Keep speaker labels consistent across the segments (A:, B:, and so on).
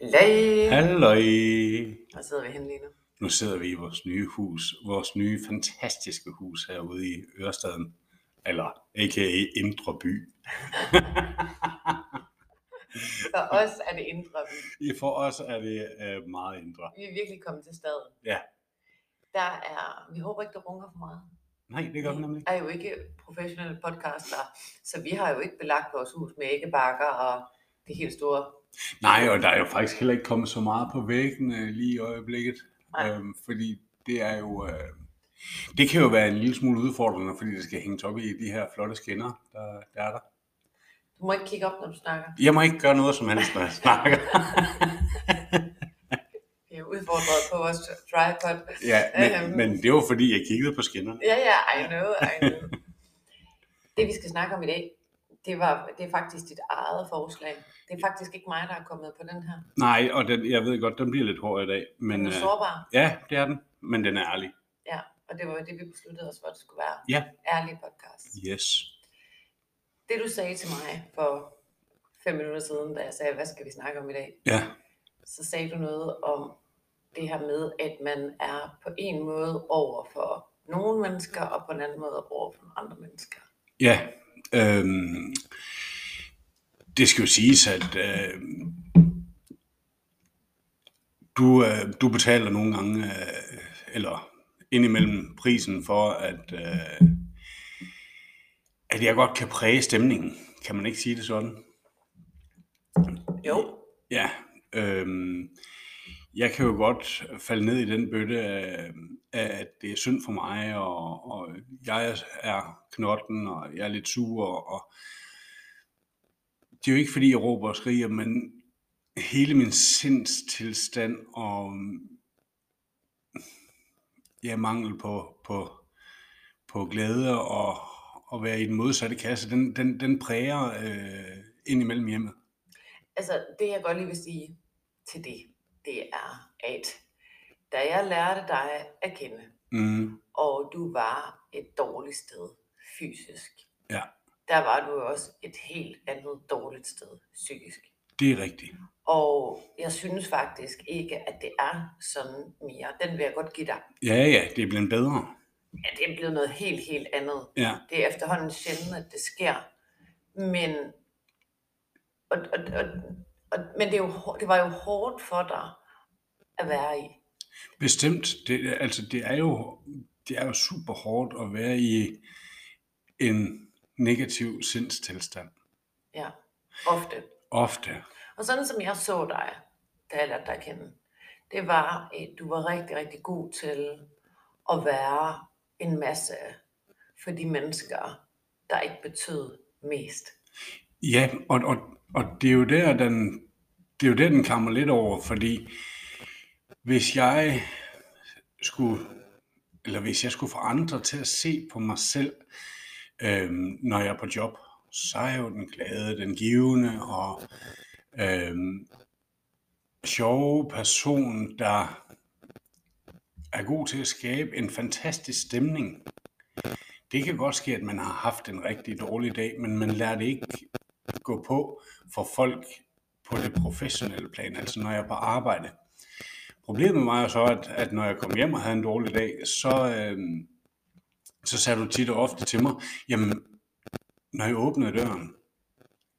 A: Hej.
B: Halløj!
A: Hvor sidder vi henne lige nu?
B: Nu sidder vi i vores nye hus, vores nye fantastiske hus herude i Ørestaden, eller a.k.a. Indre By.
A: For os er det indre. by.
B: I For os er det øh, meget indre.
A: Vi er virkelig kommet til stedet.
B: Ja.
A: Der er, vi håber ikke, der runker for meget.
B: Nej, det gør den nemlig.
A: er jo ikke professionelle podcaster, så vi har jo ikke belagt vores hus med æggebakker og det helt store.
B: Nej, og der er jo faktisk heller ikke kommet så meget på væggene lige i øjeblikket.
A: Nej.
B: Øhm, fordi det er jo... Øh, det kan jo være en lille smule udfordrende, fordi det skal hænges op i de her flotte skinner, der, der er der.
A: Du må ikke kigge op, når du snakker.
B: Jeg må ikke gøre noget som helst, når jeg snakker.
A: Vi er udfordret på vores tripod.
B: ja, men, men det var fordi, jeg kiggede på skinnerne.
A: Ja, ja, I know, I know. det vi skal snakke om i dag, det, var, det er faktisk dit eget forslag. Det er faktisk ikke mig, der er kommet på den her.
B: Nej, og den, jeg ved godt, den bliver lidt hård i dag. Men, øh,
A: Den er sårbar.
B: ja, det er den. Men den er ærlig.
A: Ja, og det var jo det, vi besluttede os for, at det skulle være.
B: Ja.
A: Ærlig podcast.
B: Yes.
A: Det du sagde til mig for fem minutter siden, da jeg sagde, hvad skal vi snakke om i dag,
B: Ja.
A: så sagde du noget om det her med, at man er på en måde over for nogle mennesker, og på en anden måde over for andre mennesker.
B: Ja. Øhm, det skal jo siges, at øh, du, øh, du betaler nogle gange, øh, eller indimellem prisen for, at, øh, at jeg godt kan præge stemningen. Kan man ikke sige det sådan?
A: Jo,
B: Ja, øhm, jeg kan jo godt falde ned i den bøtte, af, af, at det er synd for mig, og, og jeg er knotten, og jeg er lidt sur, og det er jo ikke fordi, jeg råber og skriger, men hele min sindstilstand og ja, mangel på, på, på glæde og at være i den modsatte kasse, den, den, den præger øh, ind imellem hjemmet.
A: altså det jeg godt lige vil sige til det, det er, at da jeg lærte dig at kende,
B: Mm,
A: og du var et dårligt sted fysisk,
B: Ja.
A: der var du jo også et helt andet dårligt sted psykisk.
B: det er rigtigt.
A: Og jeg synes faktisk ikke, at det er sådan mere. Den vil jeg godt give dig.
B: Ja, ja, det er blevet bedre.
A: Ja, det er blevet noget helt, helt andet.
B: Ja,
A: Det er efterhånden sjældent, at det sker. Men, og, og, og, og, men det, er jo, hår- det var jo hårdt for dig at være i.
B: bestemt. Det, altså, det er jo, det er jo super hårdt at være i en negativ sindstilstand.
A: Ja, ofte.
B: Ofte.
A: Og sådan som jeg så dig, da jeg lærte dig at kende, det var, at du var rigtig, rigtig god til at være en masse for de mennesker, der ikke betød mest.
B: Ja, og, og, og det er jo der, den, det er jo der, den kammer lidt over, fordi hvis jeg skulle, eller hvis jeg skulle få andre til at se på mig selv, øhm, når jeg er på job, så er jeg jo den glade, den givende og øhm, sjove person, der er god til at skabe en fantastisk stemning. Det kan godt ske, at man har haft en rigtig dårlig dag, men man lader det ikke gå på for folk på det professionelle plan, altså når jeg er på arbejde. Problemet var jo så, at, at når jeg kom hjem og havde en dårlig dag, så, øh, så sagde du tit og ofte til mig, jamen, når jeg åbnede døren,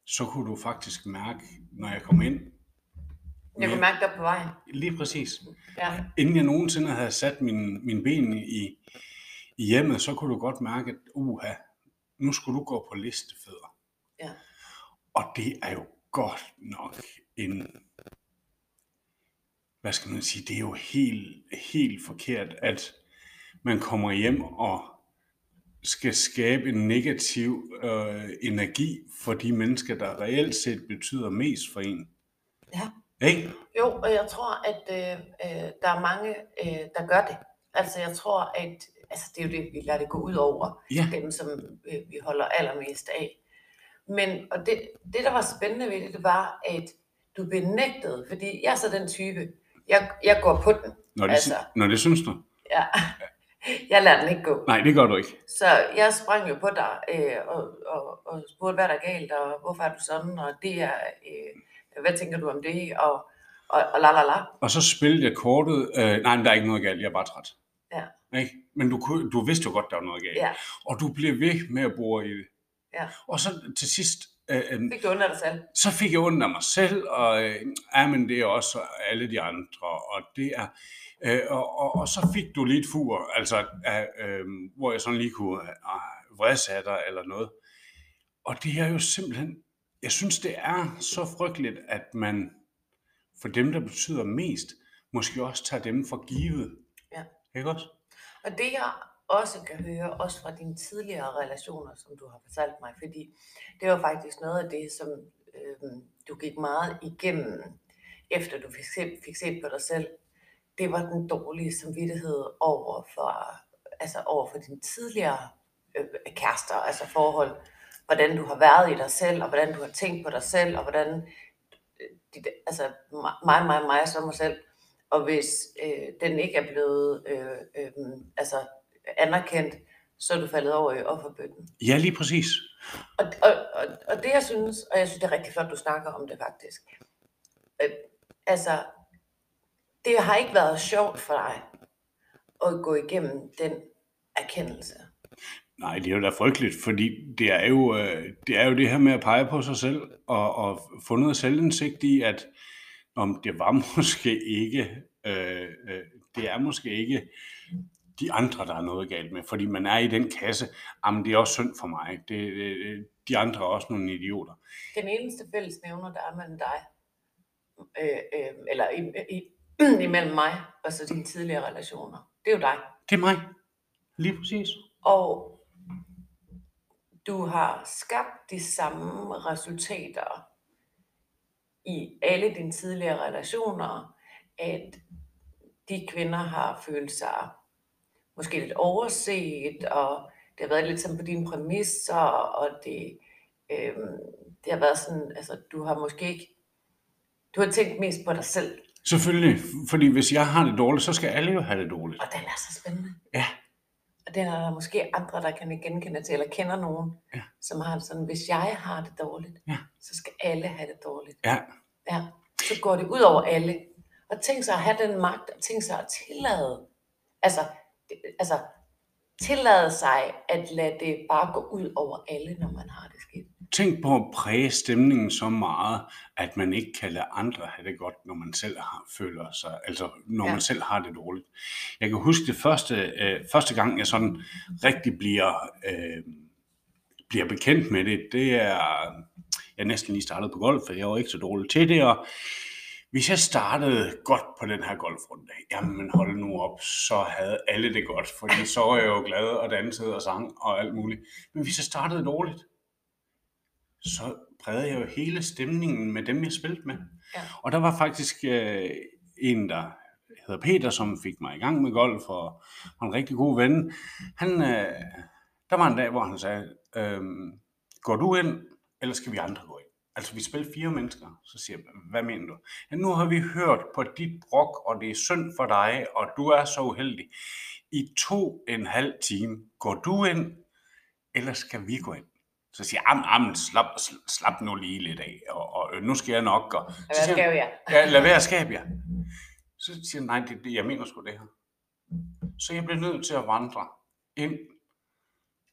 B: så kunne du faktisk mærke, når jeg kom ind,
A: Jeg kunne
B: Ja.
A: mærke dig på vejen.
B: lige præcis,
A: Ja.
B: inden jeg nogensinde havde sat min, min ben i, i hjemmet, så kunne du godt mærke, at uha, nu skulle du gå på listefødder.
A: Ja.
B: Og det er jo godt nok en, hvad skal man sige, det er jo helt, helt forkert, at man kommer hjem og skal skabe en negativ øh, energi for de mennesker, der reelt set betyder mest for en.
A: Ja.
B: Ikke?
A: Jo, og jeg tror, at øh, øh, der er mange, øh, der gør det. Altså, jeg tror, at altså, det er jo det, vi lader det gå ud over.
B: Ja.
A: Dem, som øh, vi holder allermest af. Men, og det, det, der var spændende ved det, det var, at du benægtede, fordi jeg er så den type, jeg, jeg går på den.
B: Når det,
A: Altså.
B: altså... når det synes du.
A: Ja. Jeg lader den ikke gå.
B: Nej, det gør du ikke.
A: Så jeg sprang jo på dig øh, og, og, og spurgte, hvad er der er galt, og hvorfor er du sådan, og det er, øh, hvad tænker du om det, og, og, og la la la.
B: Og så spillede jeg kortet. Øh, nej, men der er ikke noget galt, jeg er bare træt.
A: Ja.
B: Ikke? Men du, kunne- du vidste jo godt, der var noget galt.
A: Ja.
B: Og du blev ved med at bore i det.
A: Ja.
B: Og så til sidst, øh, øh,
A: Fik du ondt af dig selv?
B: så fik jeg ondt af mig selv, og øh, ja, men det er også alle de andre, og det er, øh, og, og, og så fik du lidt fur, altså, af, øh, hvor jeg sådan lige kunne øh, vrisse af dig eller noget. Og det er jo simpelthen, jeg synes, det er så frygteligt, at man for dem, der betyder mest, måske også tager dem for givet.
A: Ja.
B: Ikke også?
A: Og det jeg også kan høre, også fra dine tidligere relationer, som du har fortalt mig, fordi det var faktisk noget af det, som øh, du gik meget igennem, efter du fik set, fik set på dig selv. Det var den dårlige samvittighed over for, altså over for dine tidligere øh, kærester, altså forhold, hvordan du har været i dig selv, og hvordan du har tænkt på dig selv, og hvordan øh, dit, altså mig, mig, mig, så mig selv, og hvis øh, den ikke er blevet øh, øh, altså, anerkendt, så er du faldet over i offerbøtten.
B: Ja, lige præcis.
A: Og, og, og, og det jeg synes, og jeg synes det er rigtig flot, du snakker om det faktisk, øh, altså, det har ikke været sjovt for dig at gå igennem den erkendelse.
B: Nej, det er jo da frygteligt, fordi det er jo, øh, det, er jo det her med at pege på sig selv og, og få noget selvindsigt i, at om det var måske ikke, øh, øh, det er måske ikke de andre, der er noget galt med, fordi man er i den kasse, jamen det er også synd for mig, det, øh, de andre er også nogle idioter.
A: Den eneste fællesnævner, der er mellem dig, øh, øh, eller i, i, imellem mig og så dine tidligere relationer, det er jo dig.
B: Det er mig. Lige præcis.
A: Og du har skabt de samme resultater i alle dine tidligere relationer, at de kvinder har følt sig måske lidt overset, og det har været lidt sådan på dine præmisser, og det, øhm, det har været sådan, altså du har måske ikke, du har tænkt mest på dig selv,
B: Selvfølgelig, fordi hvis jeg har det dårligt, så skal alle jo have det dårligt.
A: og den er så spændende.
B: Ja.
A: Og den er der måske andre, der kan genkende til, eller kender nogen,
B: Ja.
A: som har det sådan, hvis jeg har det dårligt,
B: Ja.
A: så skal alle have det dårligt.
B: Ja,
A: Ja. Så går det ud over alle. Og tænk sig at have den magt, og tænk sig at tillade, altså, det- altså tillade sig at lade det bare gå ud over alle, når man har det skidt.
B: Tænk på at præge stemningen så meget, at man ikke kan lade andre have det godt, når man selv har, føler sig, altså når ja.
A: Ja.
B: man selv har det dårligt. Jeg kan huske det første, øh, første gang, jeg sådan rigtig bliver, øh, bliver bekendt med det, det er, jeg er næsten lige startede på golf, for jeg var ikke så dårlig til det, og hvis jeg startede godt på den her golfrunde, jamen hold nu op, så havde alle det godt, fordi så var jeg jo glad og dansede og sang og alt muligt. Men hvis jeg startede dårligt, så prægede jeg jo hele stemningen med dem, jeg spillede med.
A: Ja.
B: Og der var faktisk øh, en, der hedder Peter, som fik mig i gang med golf, og var en rigtig god ven. Han, øh, der var en dag, hvor han sagde, øh, går du ind, eller skal vi andre gå ind? Altså, vi spiller fire mennesker. Så siger jeg, hvad mener du? Ja, nu har vi hørt på dit brok, og det er synd for dig, og du er så uheldig. I to en halv time går du ind, eller skal vi gå ind? Så siger jeg, "Am, am, slap, sl- slap nu lige lidt af, og, og øh, nu skal jeg nok gå. Så
A: Hvad
B: siger han,
A: skal jeg?
B: Ja, lad være at skabe jer. Så siger han, nej, det, det, jeg mener sgu det her. Så jeg blev nødt til at vandre ind,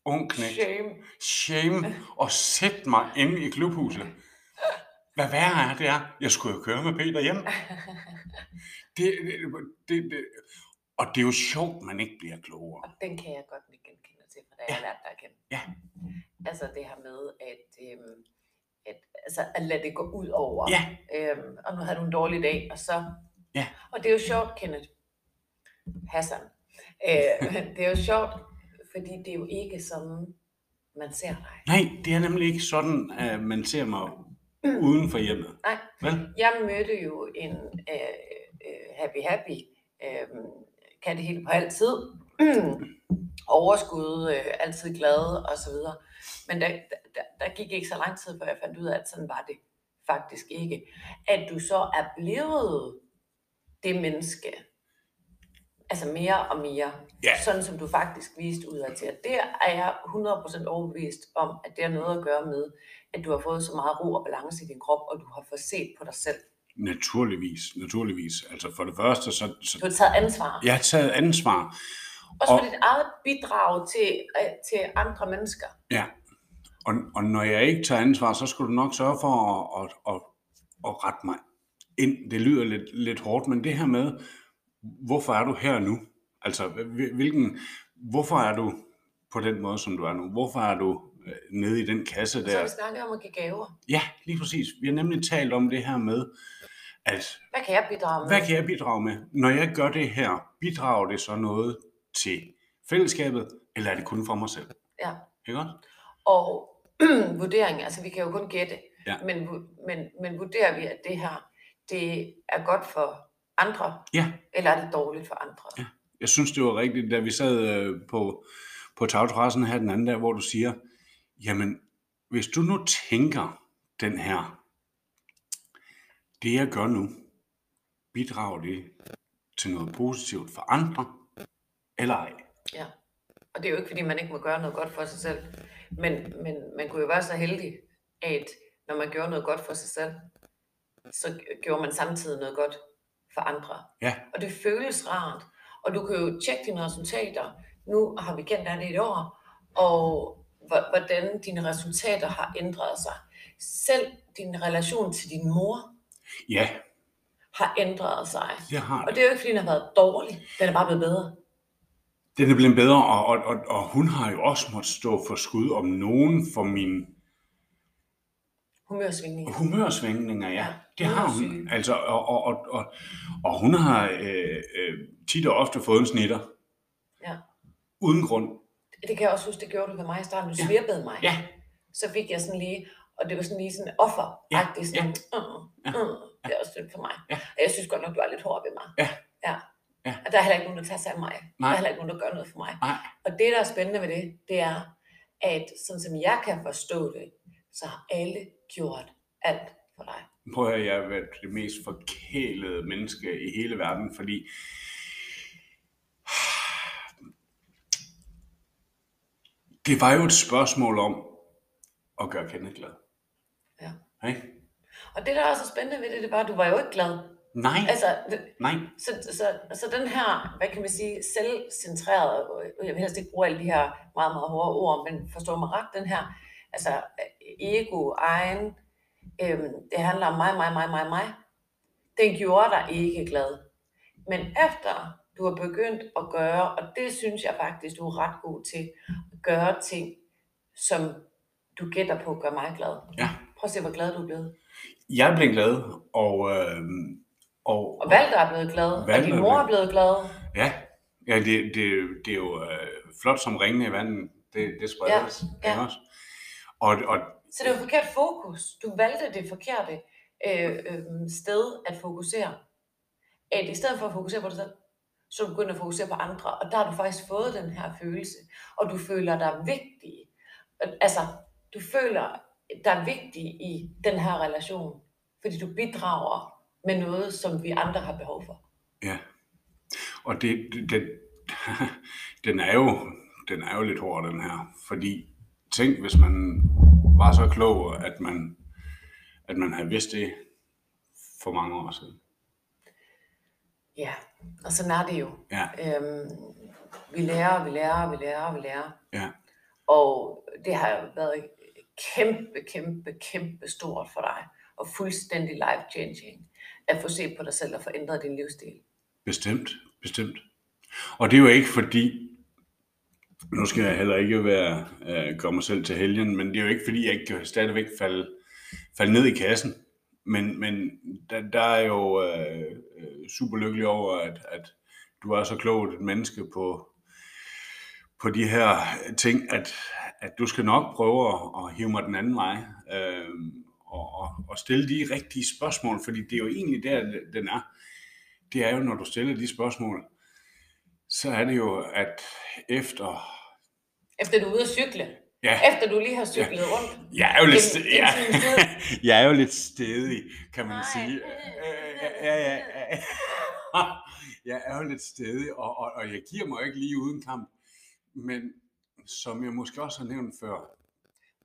B: ung knægt,
A: Shame.
B: shame, og sætte mig inde i klubhuset. Hvad værre er det er, jeg skulle jo køre med Peter hjem. Det, det, det, det, og det er jo sjovt, man ikke bliver klogere.
A: Den kan jeg godt ikke genkende til, for da jeg lærte dig at kende.
B: Ja.
A: Altså det her med, at, øhm, at, altså, at lade det gå ud over.
B: Ja,
A: Øhm, og nu havde du en dårlig dag, og så...
B: Ja.
A: Og det er jo sjovt, Kenneth. Hassan. Øh, det er jo sjovt, fordi det er jo ikke sådan, man ser dig.
B: nej, det er nemlig ikke sådan, at man ser mig uden for hjemmet.
A: Nej.
B: Vel?
A: Jeg mødte jo en øh, øh, happy happy, øh, kan det hele på altid, overskud, øh, altid glad og så videre. Men der, der, der gik ikke så lang tid, før jeg fandt ud af, at sådan var det faktisk ikke. At du så er blevet det menneske, altså mere og mere,
B: Ja.
A: sådan som du faktisk viste ud til. Det er jeg 100% overbevist om, at det har noget at gøre med, at du har fået så meget ro og balance i din krop, og du har fået set på dig selv.
B: Naturligvis, naturligvis. Altså for det første, så,
A: Du
B: så
A: har taget ansvar.
B: jeg har taget ansvar.
A: Også for
B: og-
A: dit eget bidrag til, øh, til andre mennesker.
B: Ja. Og, og når jeg ikke tager ansvar, så skulle du nok sørge for at, at, at, at rette mig ind. Det lyder lidt, lidt hårdt, men det her med, hvorfor er du her nu? Altså, hvil- hvilken, hvorfor er du på den måde, som du er nu? Hvorfor er du øh, nede i den kasse
A: Så har
B: der?
A: vi snakket om at give gaver.
B: Ja, lige præcis. Vi har nemlig talt om det her med, at
A: Hvad kan jeg bidrage med?
B: hvad kan jeg bidrage med? Når jeg gør det her, bidrager det så noget til fællesskabet, eller er det kun for mig selv?
A: Ja.
B: Ikke godt?
A: Og vurdering, altså vi kan jo kun gætte,
B: Ja.
A: men, vu- men, men vurderer vi, at det her, det er godt for andre,
B: Ja.
A: eller er det dårligt for andre? Ja.
B: Jeg synes, det var rigtigt, da vi sad øh, på, på tagterrassen her den anden dag, hvor du siger, jamen, hvis du nu tænker den her, det jeg gør nu, bidrager det til noget positivt for andre, eller ej?
A: Og det er jo ikke, fordi man ikke må gøre noget godt for sig selv, men, men man kunne jo være så heldig, at når man gjorde noget godt for sig selv, så g- gjorde man samtidig noget godt for andre.
B: Ja.
A: Og det føles rart. Og du kan jo tjekke dine resultater. Nu har vi kendt dig lidt år, og hvor- hvordan dine resultater har ændret sig. Selv din relation til din mor
B: Ja,
A: har ændret sig.
B: det har
A: Og
B: det.
A: det er jo ikke, fordi den har været dårlig. Den er bare blevet bedre.
B: Den er blevet bedre, og, og, og, og hun har jo også måttet stå for skud om nogen for mine
A: Humørsvingninger.
B: humørsvingninger, ja.
A: Ja,
B: Det har hun.
A: humørsyge.
B: Altså, og, og, og, og, og hun har øh, øh, tit og ofte fået en snitter.
A: Ja.
B: Uden grund.
A: Det kan jeg også huske, det gjorde du ved mig i starten. Du svirpede mig.
B: Ja,
A: Så fik jeg sådan lige, og det var sådan lige sådan offer
B: Ja,
A: ja, sådan, uh, uh, det er også synd for mig.
B: Ja.
A: Og jeg synes godt nok, du er lidt hård ved mig.
B: Ja.
A: ja.
B: Ja.
A: Og der er heller ikke nogen, der tager sig af mig. Der er
B: nej,
A: heller ikke nogen, der gør noget for mig.
B: nej,
A: Og det, der er spændende ved det, det er, at sådan som jeg kan forstå det, så har alle gjort alt for dig.
B: prøv at høre, jeg har været det mest forkælede menneske i hele verden, fordi det var jo et spørgsmål om at gøre Kenneth glad.
A: Ja.
B: Ikke?
A: Og det, der også er spændende ved det, det var, at du var jo ikke glad.
B: Nej,
A: Altså, det-
B: nej,
A: så, så, så den her, hvad kan man sige, selvcentrerede, og jeg vil helst ikke bruge alle de her meget, meget hårde ord, men forstå mig ret, den her, altså ego, egen, øhm, det handler om mig, mig, mig, mig, mig, den gjorde dig ikke glad. Men efter du har begyndt at gøre, og det synes jeg faktisk, du er ret god til, at gøre ting, som du gætter på gør mig glad.
B: ja.
A: Prøv at se, hvor glad du er blevet.
B: Jeg blev glad, og, øh, og,
A: Og Valter er blevet glad, og
B: Walter
A: din
B: er
A: mor
B: blevet-
A: er blevet glad.
B: Ja, ja det, det, det er jo øh, flot som ringene i vandet. Det, det spredes.
A: Ja, ja.
B: ikke Også. Og, og
A: Så det var forkert fokus. Du valgte det forkerte øh, øh, sted at fokusere. At I stedet for at fokusere på dig selv, så er du begyndt at fokusere på andre. Og der har du faktisk fået den her følelse. Og du føler dig vigtig. Og- Altså, du føler dig vigtig i den her relation. Fordi du bidrager med noget, som vi andre har behov for.
B: Ja. Og det, det, den, den, er jo, den er jo lidt hård, den her. Fordi tænk, hvis man var så klog, at man, at man havde vidst det for mange år siden.
A: Ja, og sådan er det jo.
B: Ja,
A: Øhm, vi lærer, vi lærer, vi lærer, vi lærer.
B: ja,
A: Og det har været kæmpe, kæmpe, kæmpe stort for dig. Og fuldstændig life-changing. At få set på dig selv og få ændret din livsstil.
B: bestemt, bestemt. Og det er jo ikke fordi, nu skal jeg heller ikke være, øh, gøre mig selv til helgen, men det er jo ikke fordi, jeg ikke kan stadigvæk falde, falde ned i kassen. Men, men der, der er jeg jo øh, super lykkelig over, at, at du er så klogt et menneske på, på de her ting, at, at du skal nok prøve at, at hive mig den anden vej øh, og, og, og stille de rigtige spørgsmål, fordi det er jo egentlig der, den er. Det er jo, når du stiller de spørgsmål, så er det jo, at efter...
A: Efter du er ude at cykle.
B: Ja,
A: Efter du lige har cyklet rundt.
B: jeg er jo lidt,
A: en-
B: st-
A: en
B: ja.
A: time siden.
B: jeg er jo lidt stedig, kan man
A: Nej.
B: sige. Øh, Ja, ja, ja. Jeg er jo lidt stedig, og, og, og jeg giver mig jo ikke lige uden kamp. Men som jeg måske også har nævnt før,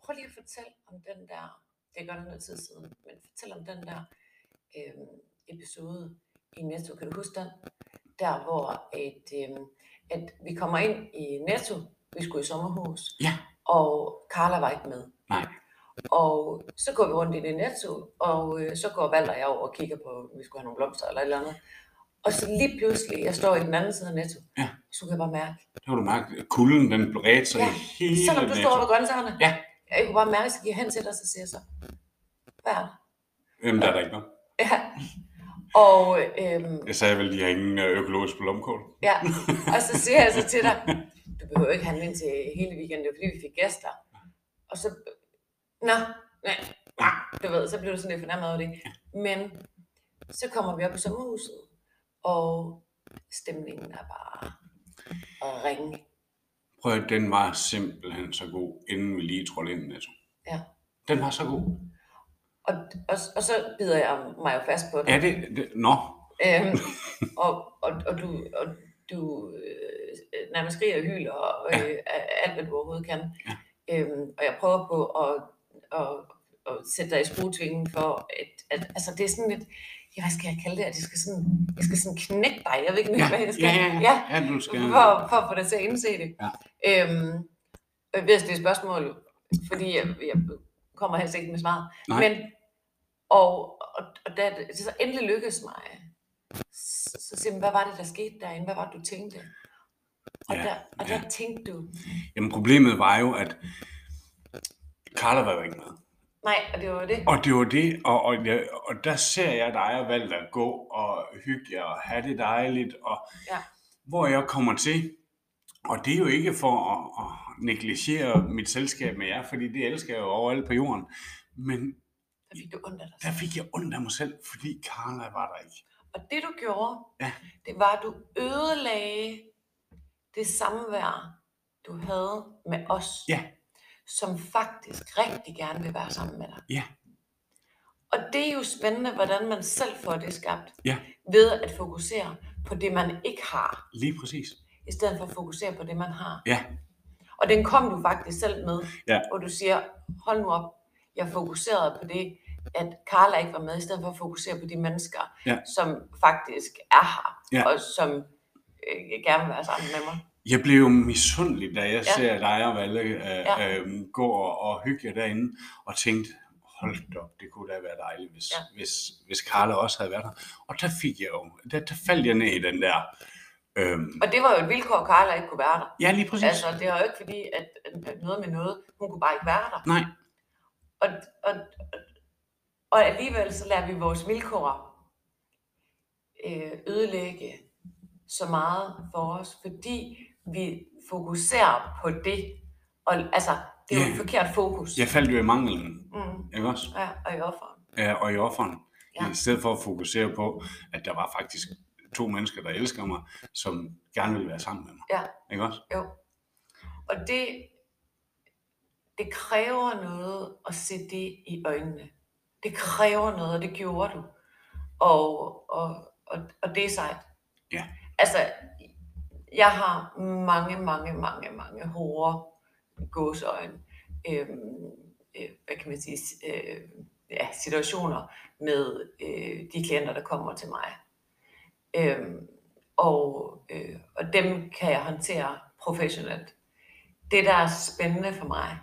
A: Prøv lige at fortælle om den der, det er godt nok noget tid siden, men fortæl om den der øh, episode i Netto. Kan du huske den? Der hvor et, øh, at vi kommer ind i Netto, vi skulle i sommerhus,
B: Ja.
A: og Carla var ikke med.
B: Nej.
A: Og så går vi rundt i det Netto, og øh, så går Valder og jeg over og kigger på, om vi skulle have nogle blomster eller et eller andet. Og så lige pludselig, jeg står i den anden side af Netto,
B: Ja.
A: så kan jeg bare mærke,
B: Det var du mærke. Kulden, den bredte sig
A: Ja,
B: ja. hele
A: Selvom du står
B: natten.
A: ved grøntsagerne.
B: Ja.
A: Jeg kunne bare mærke, at jeg gik hen til dig, så siger jeg så, hvad er der?
B: Jamen, der er der ikke noget.
A: Ja. Og, øhm,
B: Jeg sagde vel, de har ingen øh, økologisk blomkål.
A: ja. og så siger jeg så til dig, du behøver ikke handle ind til hele weekenden, det var fordi, vi fik gæster. Og så, nå, nej, nej, du ved, så blev du sådan lidt fornærmet over det. Men så kommer vi op i sommerhuset, og stemningen er bare at ringe.
B: Prøv at høre, den var simpelthen så god, inden vi lige trådte ind i Netto.
A: Ja.
B: Den var så god.
A: Og, og, og så bider jeg mig jo fast på det.
B: Er det? det nå.
A: Øhm, og, og, og du, og du øh, nærmest skriger og hyler og øh, alt, hvad du overhovedet kan. Øhm, og jeg prøver på at, at, at sætte dig i skruetvingen for, at, at altså det er sådan lidt, ja, hvad skal jeg kalde det, at jeg skal sådan, jeg skal sådan knække dig, jeg ved ikke, hvad jeg skal.
B: ja, ja,
A: ja
B: ja. ja du skal...
A: for, for at få dig til at indse det.
B: Ja.
A: Øhm, øh, væsentligt spørgsmål, fordi jeg, jeg kommer helst ikke med svaret.
B: Nej.
A: Men, og, og, og da det så endelig lykkedes mig, så, så siger man, hvad var det, der skete derinde? Hvad var det, du tænkte? Og,
B: Ja,
A: der, og der
B: ja.
A: tænkte du,
B: Jamen, problemet var jo, at Carla var jo ikke med.
A: nej, og det var det.
B: Og det var det, og, og, ja, og der ser jeg dig og valgte at gå og hygge jer og have det dejligt, og
A: Ja.
B: hvor jeg kommer til. Og det er jo ikke for at, at negligere mit selskab med jer, fordi det elsker jeg jo overalt på jorden. Men
A: Der fik du ondt af dig.
B: der fik jeg ondt af mig selv, fordi Carla var der ikke.
A: Og det du gjorde,
B: Ja.
A: det var, at du ødelagde det samvær, du havde med os,
B: Ja.
A: som faktisk rigtig gerne vil være sammen med dig.
B: Ja.
A: Og det er jo spændende, hvordan man selv får det skabt,
B: Ja.
A: ved at fokusere på det, man ikke har,
B: Lige præcis.
A: i stedet for at fokusere på det, man har.
B: Ja,
A: Og den kom du faktisk selv med,
B: Ja.
A: hvor du siger, hold nu op, jeg fokuserede på det, at Carla ikke var med, i stedet for at fokusere på de mennesker,
B: Ja.
A: som faktisk er her,
B: Ja.
A: og som øh, gerne vil være sammen med mig.
B: Jeg blev jo misundelig, da jeg ja.
A: Ja.
B: ser dig og Valle øh, ja.
A: Ja.
B: øh, gå og, og hygge jer derinde, og tænkte, hold da op, det kunne da være dejligt, hvis, ja.
A: Ja.
B: hvis, hvis Carla også havde været der. Og der fik jeg jo, der, der faldt jeg ned i den der, øh,
A: Og det var jo et vilkår, at Carla ikke kunne være der.
B: ja lige præcis,
A: Altså,
B: altså,
A: det var jo ikke fordi, at at noget med noget, hun kunne bare ikke være der.
B: nej,
A: Og, og, og alligevel så lader vi vores vilkår øh, ødelægge så meget for os, fordi vi fokuserer på det. Og altså, det er jo
B: Ja.
A: et forkert fokus.
B: jeg faldt jo i manglen,
A: Mm,
B: ikke også?
A: ja, og i offeren.
B: Ja, og i offeren. Ja.
A: Ja.
B: I stedet for at fokusere på, at der var faktisk to mennesker, der elsker mig, som gerne ville være sammen med mig.
A: Ja.
B: Ikke også?
A: Jo. Og det, det kræver noget at se det i øjnene. Det kræver noget, og det gjorde du. Og, og, og, og det er sejt.
B: Ja.
A: Altså, jeg har mange, mange, mange, mange hårde gåsøjne. Øhm, øh, hvad kan man sige? s- Øh, ja, situationer med øh, de klienter, der kommer til mig. Øhm, og, øh, og dem kan jeg håndtere professionelt. Det, der er spændende for mig,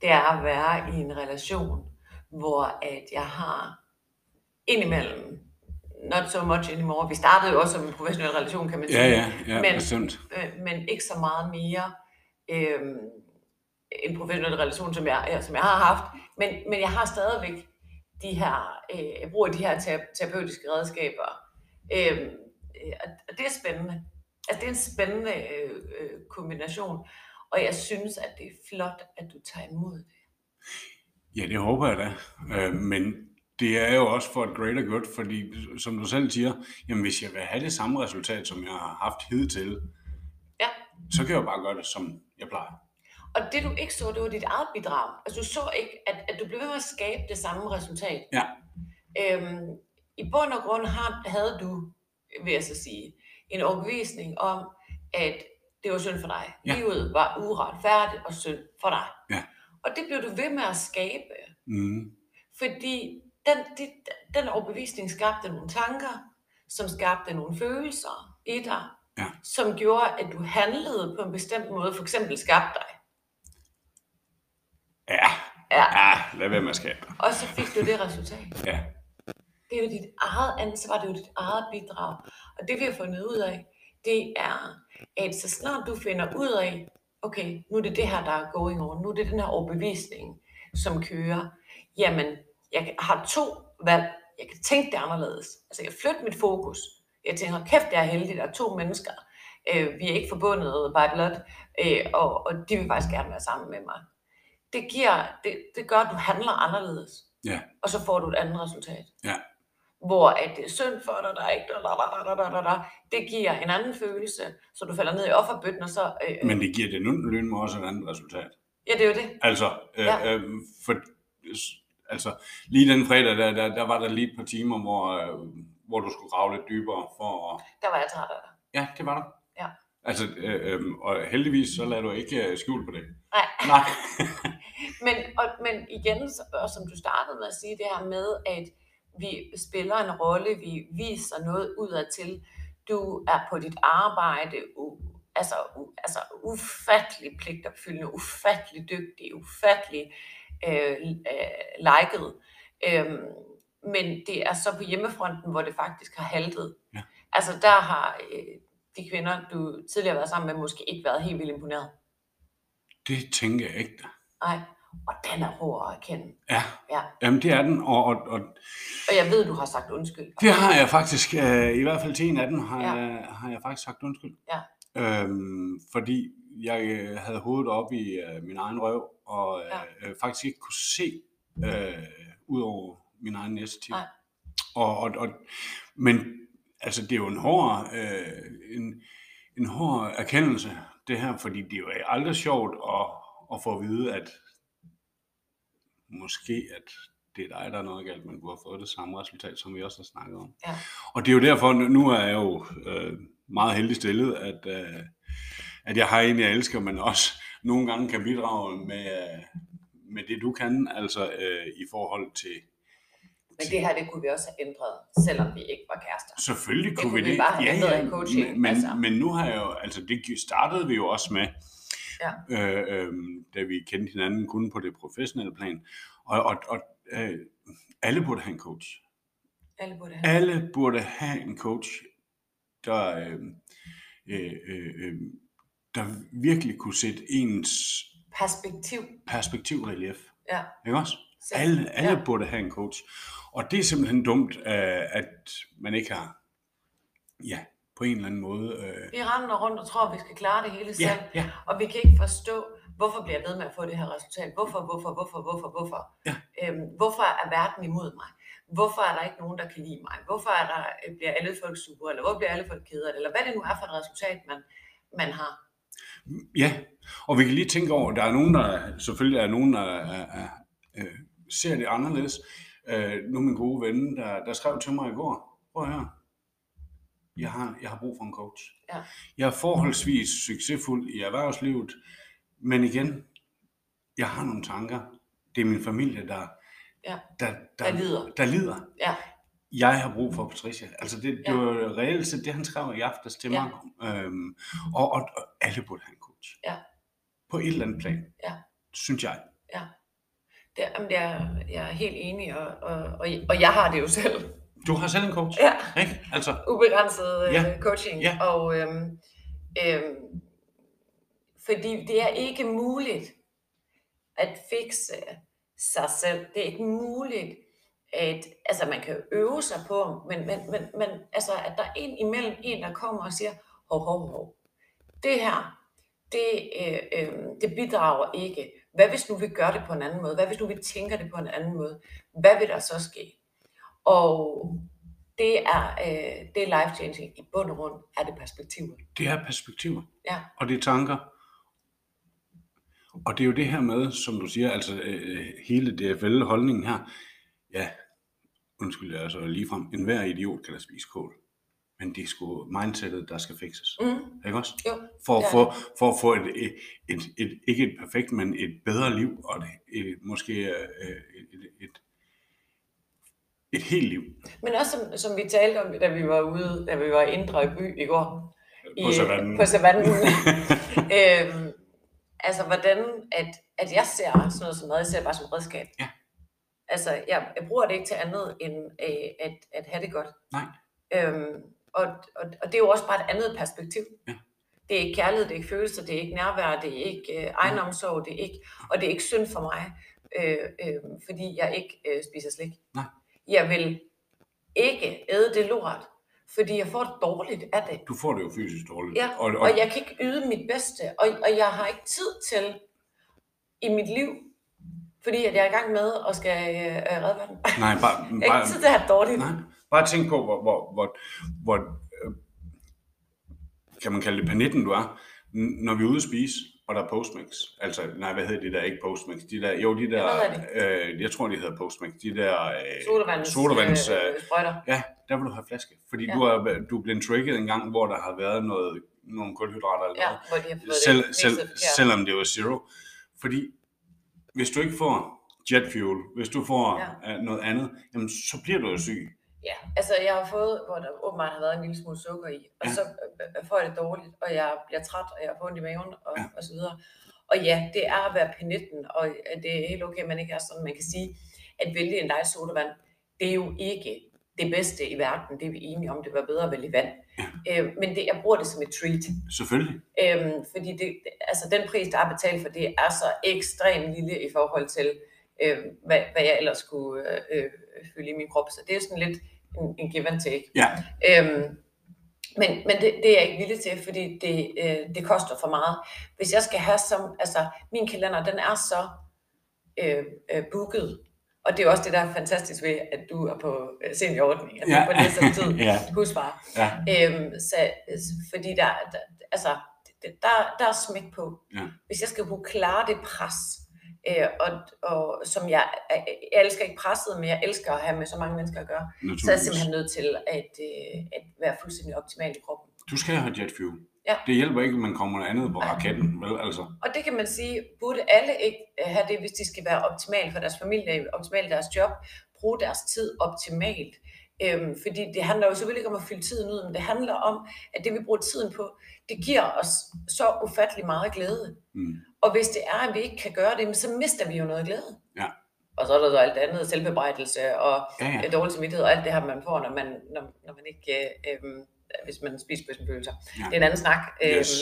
A: det er at være i en relation, hvor at jeg har indimellem, not so much anymore, vi startede jo også som en professionel relation, kan man sige,
B: Ja, ja, ja,
A: Men-
B: bestemt.
A: øh, men ikke så meget mere øh, en professionel relation, som jeg, ja, som jeg har haft. Men, men jeg har stadigvæk de her, øh, jeg bruger de her tera- terapeutiske redskaber. Øh, øh, og- og det er spændende. Altså, det er en spændende øh, øh, kombination. Og jeg synes, at det er flot, at du tager imod det.
B: Ja, det håber jeg da. Øh, men det er jo også for et greater good, fordi som du selv siger, jamen hvis jeg vil have det samme resultat, som jeg har haft hidtil,
A: Ja.
B: så kan jeg jo bare gøre det, som jeg plejer.
A: Og det, du ikke så, det var dit eget bidrag. Altså, du så ikke, at, at du blev ved med at skabe det samme resultat.
B: Ja.
A: Øhm, I bund og grund har, havde du, vil jeg så sige, en overbevisning om, at det var synd for dig.
B: Ja.
A: Livet var uretfærdigt og synd for dig.
B: Ja.
A: Og det blev du ved med at skabe,
B: Mm.
A: fordi den, det, den overbevisning skabte nogle tanker, som skabte nogle følelser i dig,
B: Ja.
A: som gjorde, at du handlede på en bestemt måde, for eksempel skabte dig.
B: Ja,
A: Ja.
B: ja lad være med at skabe dig.
A: Og så fik du det resultat.
B: Ja,
A: Det er jo dit eget ansvar, det er jo dit eget bidrag. Og det vi har fundet ud af, det er, at så snart du finder ud af, okay, nu er det det her, der er going on, nu er det den her overbevisning, som kører, jamen, jeg kan- har to valg. Jeg kan tænke det anderledes. Altså, jeg flytter mit fokus. Jeg tænker, kæft, jeg er heldig, der er to mennesker. Øh, vi er ikke forbundet by blood, øh, og, og de vil faktisk gerne være sammen med mig. Det, giver, det, det gør, at du handler anderledes,
B: ja,
A: og så får du et andet resultat
B: ja,
A: hvor at det er synd for dig, der er ikke, da, da, da, da, da, da, da. det giver en anden følelse, så du falder ned i offerbøtten, og så, øh, øh,
B: men det giver det nu med også et andet resultat.
A: ja, det er jo det.
B: Altså, øh,
A: Ja.
B: ja. øh, for, s- altså lige den fredag, der, der, der var der lige et par timer, hvor, øh, hvor du skulle grave lidt dybere for at...
A: Der var jeg træt af dig.
B: Ja, det var der.
A: Ja.
B: Altså, øh, øh, og heldigvis så lader du ikke øh, skjul på det.
A: Nej,
B: Nej.
A: men, og, men igen, så- og som du startede med at sige, det her med, at vi spiller en rolle, vi viser noget udad til, du er på dit arbejde, u, altså, u, altså ufattelig pligtopfyldende, ufattelig dygtig, ufattelig øh, øh, liket. Øhm, men det er så på hjemmefronten, hvor det faktisk har haltet.
B: Ja.
A: Altså der har øh, de kvinder, du tidligere har været sammen med, måske ikke været helt vildt imponeret.
B: Det tænker jeg ikke.
A: Nej, og den er hård at erkende.
B: Ja,
A: Ja.
B: jamen det er den, og, og, og
A: Og jeg ved, du har sagt undskyld.
B: det har jeg faktisk, øh, i hvert fald til en af dem, har,
A: Ja.
B: ja. jeg, har jeg faktisk sagt undskyld.
A: Ja.
B: Øhm, fordi jeg øh, havde hovedet op i øh, min egen røv, og øh, ja. øh, faktisk ikke kunne se øh, ud over min egen næste tid.
A: Nej.
B: Og, og, og, men altså, det er jo en hård, øh, en, en hård erkendelse, det her, fordi det er jo aldrig sjovt at, at få at vide, at måske at det er dig, der er noget galt, men du har fået det samme resultat, som vi også har snakket om.
A: Ja.
B: Og det er jo derfor, nu- nu er jeg jo øh, meget heldig stillet, at, øh, at jeg har en, jeg elsker, men også nogle gange kan bidrage med, øh, med det, du kan, altså øh, i forhold til...
A: Men det her, det kunne vi også have ændret, selvom vi ikke var kærester.
B: Selvfølgelig
A: Det
B: kunne vi
A: kunne vi
B: det.
A: bare have ændret i coaching,
B: men, men,
A: altså.
B: men nu har jeg jo, altså det gi- startede vi jo også med,
A: Ja.
B: øh, øh, da vi kendte hinanden kun på det professionelle plan. Og, og, og øh, alle burde have en coach.
A: Alle burde have.
B: Alle burde have en coach, der, øh, øh, øh, øh, der virkelig kunne sætte ens
A: Perspektiv.
B: perspektiv i relief.
A: Ja.
B: Ikke også?
A: Selv.
B: Alle, alle
A: Ja.
B: ja. burde have en coach. Og det er simpelthen dumt, øh, at man ikke har, ja, på en eller anden måde... Øh,
A: Vi render rundt og tror, at vi skal klare det hele selv.
B: ja, ja,
A: Og vi kan ikke forstå, hvorfor bliver jeg ved med at få det her resultat? Hvorfor, hvorfor, hvorfor, hvorfor, hvorfor?
B: Ja.
A: Øhm, hvorfor er verden imod mig? Hvorfor er der ikke nogen, der kan lide mig? Hvorfor er der, øh, bliver alle folk sure? Eller hvor bliver alle folk kede af det? Eller hvad det nu er for et resultat, man, man har.
B: ja. Og vi kan lige tænke over, der er nogen, der selvfølgelig er nogen, der er, er, øh, ser det anderledes. Øh, nu min gode ven, der, der skrev til mig i går, prøv at høre, jeg har, jeg har brug for en coach.
A: Ja.
B: Jeg er forholdsvis succesfuld i erhvervslivet, men igen, jeg har nogle tanker. Det er min familie, der,
A: Ja.
B: der,
A: Der lider.
B: der lider.
A: Ja.
B: Jeg har brug for Patricia. Altså det, det
A: Ja.
B: ja. var reelt set det, han skrev i aftes til
A: Ja.
B: mig. Øhm, og, og, og alle burde have en coach.
A: Ja.
B: På et eller andet plan.
A: Ja.
B: Synes jeg.
A: Det, jamen, det er, jeg er helt enig, og, og, og, og jeg har det jo selv.
B: Du har selv en coach,
A: Ja.
B: ikke? Altså,
A: Ubegrænset ja.
B: Ja.
A: coaching.
B: Ja.
A: Og, øhm, øhm, fordi det er ikke muligt at fikse sig selv. Det er ikke muligt, at altså man kan jo øve sig på, men, men, men, men altså, at der er en imellem en, der kommer og siger, hov, hov, hov, det her, det, øh, øh, det bidrager ikke. Hvad hvis nu vi gør det på en anden måde? Hvad hvis nu vi tænker det på en anden måde? Hvad vil der så ske? Og det er, øh, det er life changing. I bund og grund er det perspektivet.
B: det er perspektiver.
A: Ja.
B: Og det er tanker. Og det er jo det her med, som du siger, altså øh, hele DFL-holdningen her. Ja, undskyld, jeg er så ligefrem. En hver idiot kan da spise kål. Men det er sgu mindsetet, der skal fikses.
A: Mm.
B: Ikke også?
A: Jo.
B: for,
A: Ja.
B: ja. for, for at få et, et, et, et, ikke et perfekt, men et bedre liv, og et, et, måske øh, et, et, et, et helt liv
A: Men også som, som vi talte om, da vi var ude, da vi var i Indre by i går.
B: På savannen.
A: På savannen. øhm, altså hvordan, at, at jeg ser sådan noget som mad, jeg ser det bare som redskab.
B: Ja.
A: Altså jeg, jeg bruger det ikke til andet end øh, at, at have det godt.
B: Nej.
A: Øhm, og, og, og det er jo også bare et andet perspektiv.
B: Ja.
A: Det er ikke kærlighed, det er ikke følelser, det er ikke nærvær, det er ikke øh, egenomsorg, det er ikke, og det er ikke synd for mig, øh, øh, fordi jeg ikke øh, spiser slik.
B: Nej.
A: Jeg vil ikke æde det lort, fordi jeg får det dårligt af det.
B: Du får det jo fysisk dårligt.
A: Ja,
B: og, og,
A: Og jeg kan ikke yde mit bedste, og, og jeg har ikke tid til i mit liv, fordi at jeg er i gang med at skal øh, øh, redde verden.
B: nej, bare,
A: Jeg har
B: bare,
A: ikke tid til at have det dårligt.
B: nej, bare tænk på, hvor, hvor, hvor, hvor øh, kan man kalde det panetten du er, N- når vi er ude at spise, og der er Postmix. Altså, nej, hvad hedder de der? Ikke Postmix. De der, jo, de der,
A: Hvad
B: øh, jeg tror, de hedder Postmix. De der øh,
A: Sodavands,
B: sodavands øh,
A: øh, sprøjter.
B: Ja, der vil du have flaske. Fordi
A: Ja.
B: ja. du, er, du er blevet trigget en gang, hvor der har været noget, nogle kulhydrater eller
A: Ja,
B: noget.
A: hvor de har fået
B: Selv,
A: det.
B: selv,
A: ja.
B: Selvom det var zero. Fordi hvis du ikke får jet fuel, hvis du får ja. noget andet, jamen, så bliver du jo syg.
A: ja, altså jeg har fået, hvor der åbenbart har været en lille smule sukker i, og
B: Ja.
A: så øh, øh, får jeg det dårligt, og jeg bliver træt, og jeg får ondt i maven, og,
B: Ja.
A: og så videre. Og ja, det er at være panetten, og øh, det er helt okay, at man ikke er sådan. Man kan sige, at vælge en dejlig sodavand, det er jo ikke det bedste i verden. Det er vi enige om, det var bedre at vælge vand. Øh, men det, jeg bruger det som et treat.
B: Selvfølgelig.
A: Øhm, fordi det, altså den pris, der er betalt for det, er så ekstremt lille i forhold til, øh, hvad, hvad jeg ellers skulle øh, øh, fylde i min krop. Så det er sådan lidt en, en give and take.
B: Ja.
A: Øhm, men men det, det er jeg ikke villig til, fordi det, øh, det koster for meget. Hvis jeg skal have som, altså min kalender, den er så øh, øh, booket. Og det er jo også det, der er fantastisk ved, at du er på øh, seniorordning, at Altså, du
B: Ja.
A: er på næsten tid
B: Ja.
A: husfar.
B: Ja.
A: Øhm, så, fordi der, der, altså, det- der, der er smæk på.
B: Ja.
A: Hvis jeg skal kunne klare det pres, øh, og, og, som jeg, jeg elsker ikke presset, men jeg elsker at have med så mange mennesker at gøre, så er jeg
B: Naturligvis.
A: simpelthen nødt til at, øh, at være fuldstændig optimal i kroppen.
B: Du skal have jet fuel.
A: Ja.
B: Det hjælper ikke, at man kommer noget andet på raketten. Vel, altså.
A: Og det kan man sige, burde alle ikke øh, have det, hvis de skal være optimal for deres familie, optimal i deres job, bruge deres tid optimalt. Øhm, fordi det handler jo selvfølgelig ikke om at fylde tiden ud, men det handler om, at det vi bruger tiden på, det giver os så ufattelig meget glæde.
B: Mm.
A: Og hvis det er, at vi ikke kan gøre det, jamen, så mister vi jo noget glæde.
B: Ja.
A: Og så er der så alt det andet, selvbebrejdelse og
B: Ja, ja.
A: øh, dårlig samvittighed og alt det her, man får, når man, når, når man ikke, øh, øh, hvis man spiser på sine følelser.
B: Ja.
A: Det er en anden snak. Øhm,
B: Yes.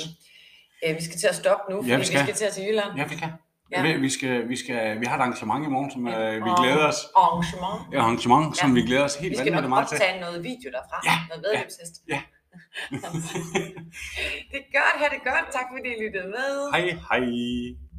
A: Øh, øh, vi skal til at stoppe nu, fordi
B: vi
A: vi skal, vi
B: skal.
A: skal til at til Jylland.
B: Ja, vi kan.
A: Ja.
B: Ja. Vi, skal, vi, skal, vi har et arrangement i morgen, som
A: Ja.
B: øh, vi
A: Og-
B: glæder os.
A: Arrangement.
B: Et arrangement, ja. som
A: Ja.
B: vi glæder os
A: Vi
B: helt
A: skal nok
B: vanvittigt meget til.
A: optage noget video derfra.
B: Ja,
A: Noget medlemshest.
B: ja.
A: det er godt, ha' det godt. Tak fordi I lyttede med.
B: Hej, hej.